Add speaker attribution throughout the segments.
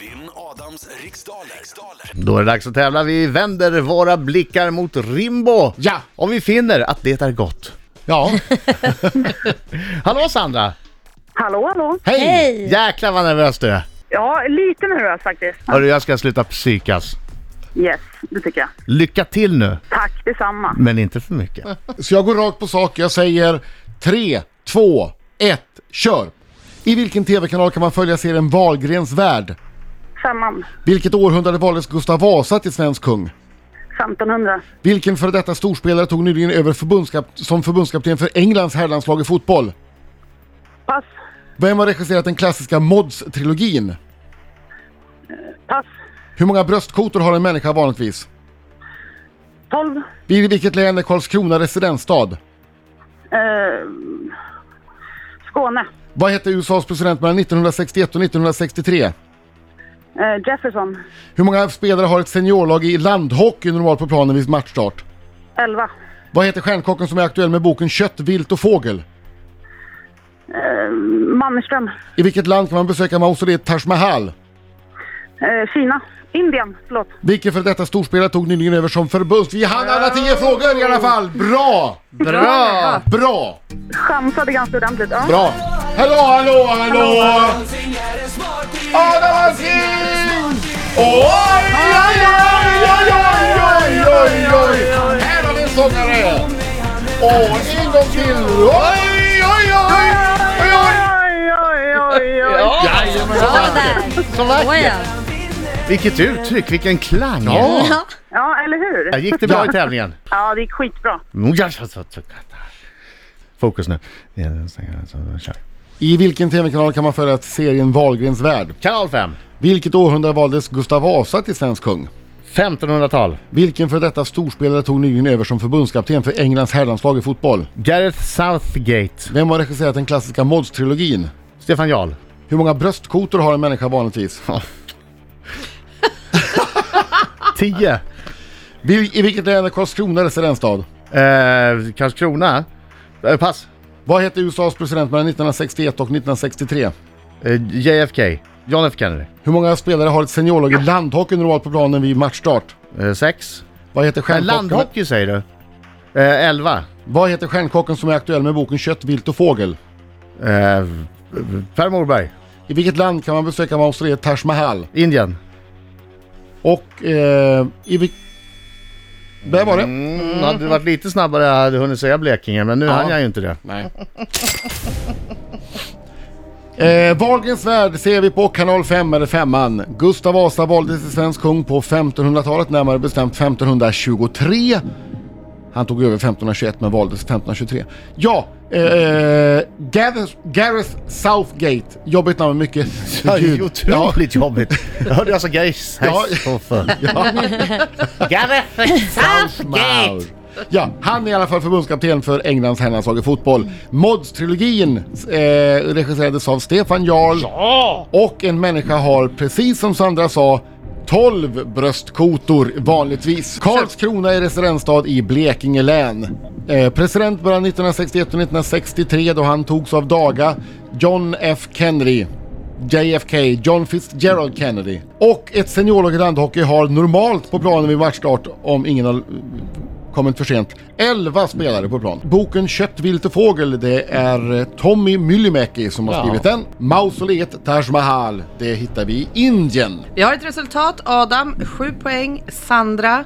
Speaker 1: Vinn Adams riksdaler. riksdaler.
Speaker 2: Då är det dags att tävla. Vi vänder våra blickar mot Rimbo.
Speaker 3: Ja.
Speaker 2: Om vi finner att det är gott.
Speaker 3: Ja,
Speaker 2: Hallå Sandra!
Speaker 4: Hallå, hallå.
Speaker 3: hej!
Speaker 5: Hej!
Speaker 2: Jäklar vad nervös du är.
Speaker 4: Ja, lite nervös faktiskt.
Speaker 2: Hörru, jag ska sluta psykas.
Speaker 4: Yes, det tycker jag.
Speaker 2: Lycka till nu,
Speaker 4: Tack detsamma.
Speaker 3: Mm.
Speaker 2: men inte för mycket.
Speaker 3: Så jag går rakt på sak. Jag säger 3, 2, 1, kör! I vilken tv-kanal kan man följa serien Wahlgrens värld?
Speaker 4: Femman.
Speaker 3: Vilket århundrade valdes Gustav Vasa till svensk kung?
Speaker 4: 1500.
Speaker 3: Vilken före detta storspelare tog nyligen över förbundskap- som förbundskapten för Englands herrlandslag i fotboll?
Speaker 4: Pass.
Speaker 3: Vem har regisserat den klassiska Mods-trilogin?
Speaker 4: Pass.
Speaker 3: Hur många bröstkotor har en människa vanligtvis?
Speaker 4: 12.
Speaker 3: Vid vilket län är Karlskrona residensstad?
Speaker 4: Eh, Skåne.
Speaker 3: Vad hette USAs president mellan 1961 och 1963?
Speaker 4: Eh, Jefferson.
Speaker 3: Hur många spelare har ett seniorlag i landhockey normalt på planen vid matchstart?
Speaker 4: 11.
Speaker 3: Vad heter stjärnkocken som är aktuell med boken Kött, vilt och fågel?
Speaker 4: Eh, Mannerström.
Speaker 3: I vilket land kan man besöka mausoleet Taj Mahal?
Speaker 4: Eh, Kina. Indien. Förlåt.
Speaker 3: Vilken för detta storspelare tog nyligen över som förbunds... Vi hann alla tio frågor i alla fall! Bra!
Speaker 2: Bra!
Speaker 3: Bra!
Speaker 4: Chansade ganska ordentligt. Ja.
Speaker 3: Bra! Hallå, hallå, hallå! Adam Alsing! Oj, oj, oj, oj, oj, oj, oj, oj! Här har vi en sångare! Och en gång till! Oj, oj, oj! oj, oj.
Speaker 4: Oj, oj, oj, oj.
Speaker 2: Jajamän.
Speaker 5: Bra där!
Speaker 2: Så vackert!
Speaker 5: Såja.
Speaker 2: Vilket uttryck, vilken klang!
Speaker 3: Ja.
Speaker 5: Ja.
Speaker 4: Ja, eller
Speaker 2: Ja,
Speaker 4: hur?
Speaker 2: Gick det bra i tävlingen?
Speaker 4: Ja, det gick skitbra.
Speaker 2: Fokus nu.
Speaker 3: I vilken tv-kanal kan man följa serien Wahlgrens värld?
Speaker 2: Kanal 5.
Speaker 3: Vilket århundrade valdes Gustav Vasa till svensk kung?
Speaker 2: 1500-tal.
Speaker 3: Vilken för detta storspelare tog nyligen över som förbundskapten för Englands herrlandslag i fotboll?
Speaker 2: Gareth Southgate.
Speaker 3: Vem har regisserat den klassiska Mods-trilogin?
Speaker 2: Stefan Jarl.
Speaker 3: Hur många bröstkotor har en människa vanligtvis?
Speaker 2: 10.
Speaker 3: Vil- I vilket län är Karlskrona residensstad?
Speaker 2: Eh, Karlskrona. Eh, pass.
Speaker 3: Vad hette USAs president mellan 1961 och 1963?
Speaker 2: Eh, JFK. John F Kennedy.
Speaker 3: Hur många spelare har ett seniorlag i landhockey normalt på planen vid matchstart?
Speaker 2: Eh, 6.
Speaker 3: Vad heter
Speaker 2: Eh,
Speaker 3: stjärnkocken,
Speaker 2: landhockey säger du. Eh, 11.
Speaker 3: vad heter stjärnkocken som är aktuell med boken Kött, vilt och fågel?
Speaker 2: Eh, per Morberg.
Speaker 3: I vilket land kan man besöka mausoleet Taj Mahal?
Speaker 2: Indien.
Speaker 3: Och eh, i vil- Där var det.
Speaker 2: Mm. Hade du varit lite snabbare hade jag hunnit säga Blekinge, men nu hann jag ju inte det.
Speaker 3: Nej. Eh, Wahlgrens värld ser vi på kanal 5 eller 5an. Gustav Vasa valdes till svensk kung på 1500-talet, närmare bestämt 1523. Han tog över 1521 men valdes 1523. Ja, eh, Gareth, Gareth Southgate. Jobbigt namn mycket.
Speaker 2: Ja, det är ju
Speaker 3: Gud. Ja,
Speaker 2: otroligt jobbigt. Jag hörde alltså jag sa Gais.
Speaker 3: Ja.
Speaker 2: Gareth
Speaker 3: Maur. Ja, han är i alla fall förbundskapten för Englands herrlandslag i fotboll. Mods-trilogin eh, regisserades av Stefan Jarl. Och en människa har, precis som Sandra sa, 12 bröstkotor vanligtvis. Karlskrona är residensstad i Blekinge län. Eh, president mellan 1961 och 1963 då han togs av daga John F Kennedy. JFK, John Fitzgerald Kennedy. Och ett seniorlag i landhockey har normalt på planen vid matchstart, om ingen har kommit för sent, 11 spelare på plan. Boken Kött, vilt och fågel, det är eh, Tommy Myllymäki som har skrivit den. Mausoleet Taj Mahal, det hittar vi i Indien.
Speaker 6: Vi har ett resultat. Adam 7 poäng, Sandra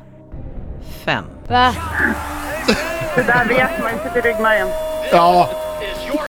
Speaker 6: 5.
Speaker 5: Va?
Speaker 4: Det där vet man inte till ryggmärgen.
Speaker 3: Ja,